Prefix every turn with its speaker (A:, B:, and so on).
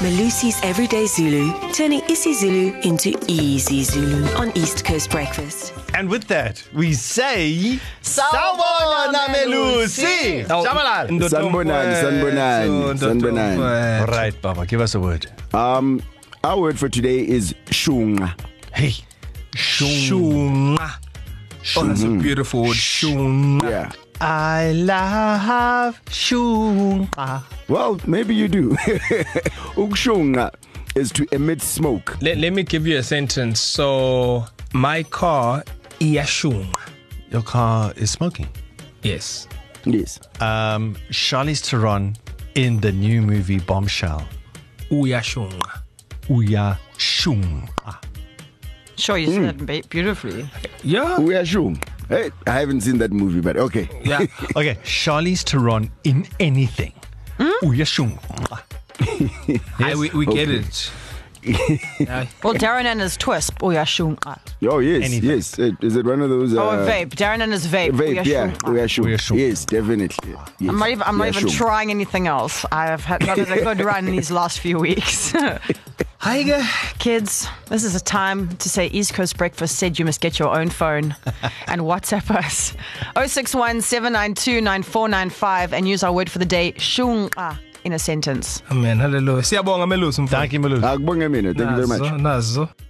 A: Malusi's Everyday Zulu, turning isiZulu into easy Zulu on East Coast Breakfast.
B: And with that, we say
C: Sawubona, Melusi.
B: Oh,
C: Shabalala.
B: Ndotomfwe.
D: Sanibonani, sanibonani,
B: So,
D: sanibonani.
B: Ndotomfwe. All right, Baba, give us a word.
D: Um, our word for today is shunga.
B: Hey. Shunga.
C: Oh, that's a beautiful word.
B: Shunga.
D: Yeah.
B: I love shunga.
D: Well, maybe you do. Ukshunga is to emit smoke.
C: Let, let me give you a sentence. So, my car, iyashunga.
B: Your car is smoking.
C: Yes.
D: Yes.
B: Um, Charlize Theron in the new movie Bombshell.
C: Uyashunga.
B: Uya shunga.
E: Sure, you said
D: Hmm.
E: that be- beautifully.
C: Yeah.
D: Oh. We are shung. Hey, I haven't seen that movie, but okay.
B: Oh.
C: Yeah.
B: Okay, Charlize Theron in anything. Uya shunga.
C: Aye, we we get it. Aye.
E: Well, Darren and his twist. Uyashunga.
D: Oh yes,
B: Anything.
D: yes. Uh, Is it one of those? Uh,
E: Oh, vape. Darren and his vape.
D: Vape. Yeah.
E: Uyashunga.
D: We are shung.
B: We are shung.
D: Yes, definitely. Yes.
E: I'm not even,
D: We
E: I'm not
D: are
E: even
D: shung.
E: trying anything else. I have had not had a good run these last few weeks.
C: Heige.
E: Kids, this is a time to say East Coast Breakfast said you must get your own phone and WhatsApp us 061 792 9495 and use our word for the day, shunga, in a sentence.
C: Amen. Hallelujah. Siyabonga Melusi mfowethu.
B: Thank you, Malu.
D: Akubonge mina. Ah, Thank you very much.
C: Nazo, nazo.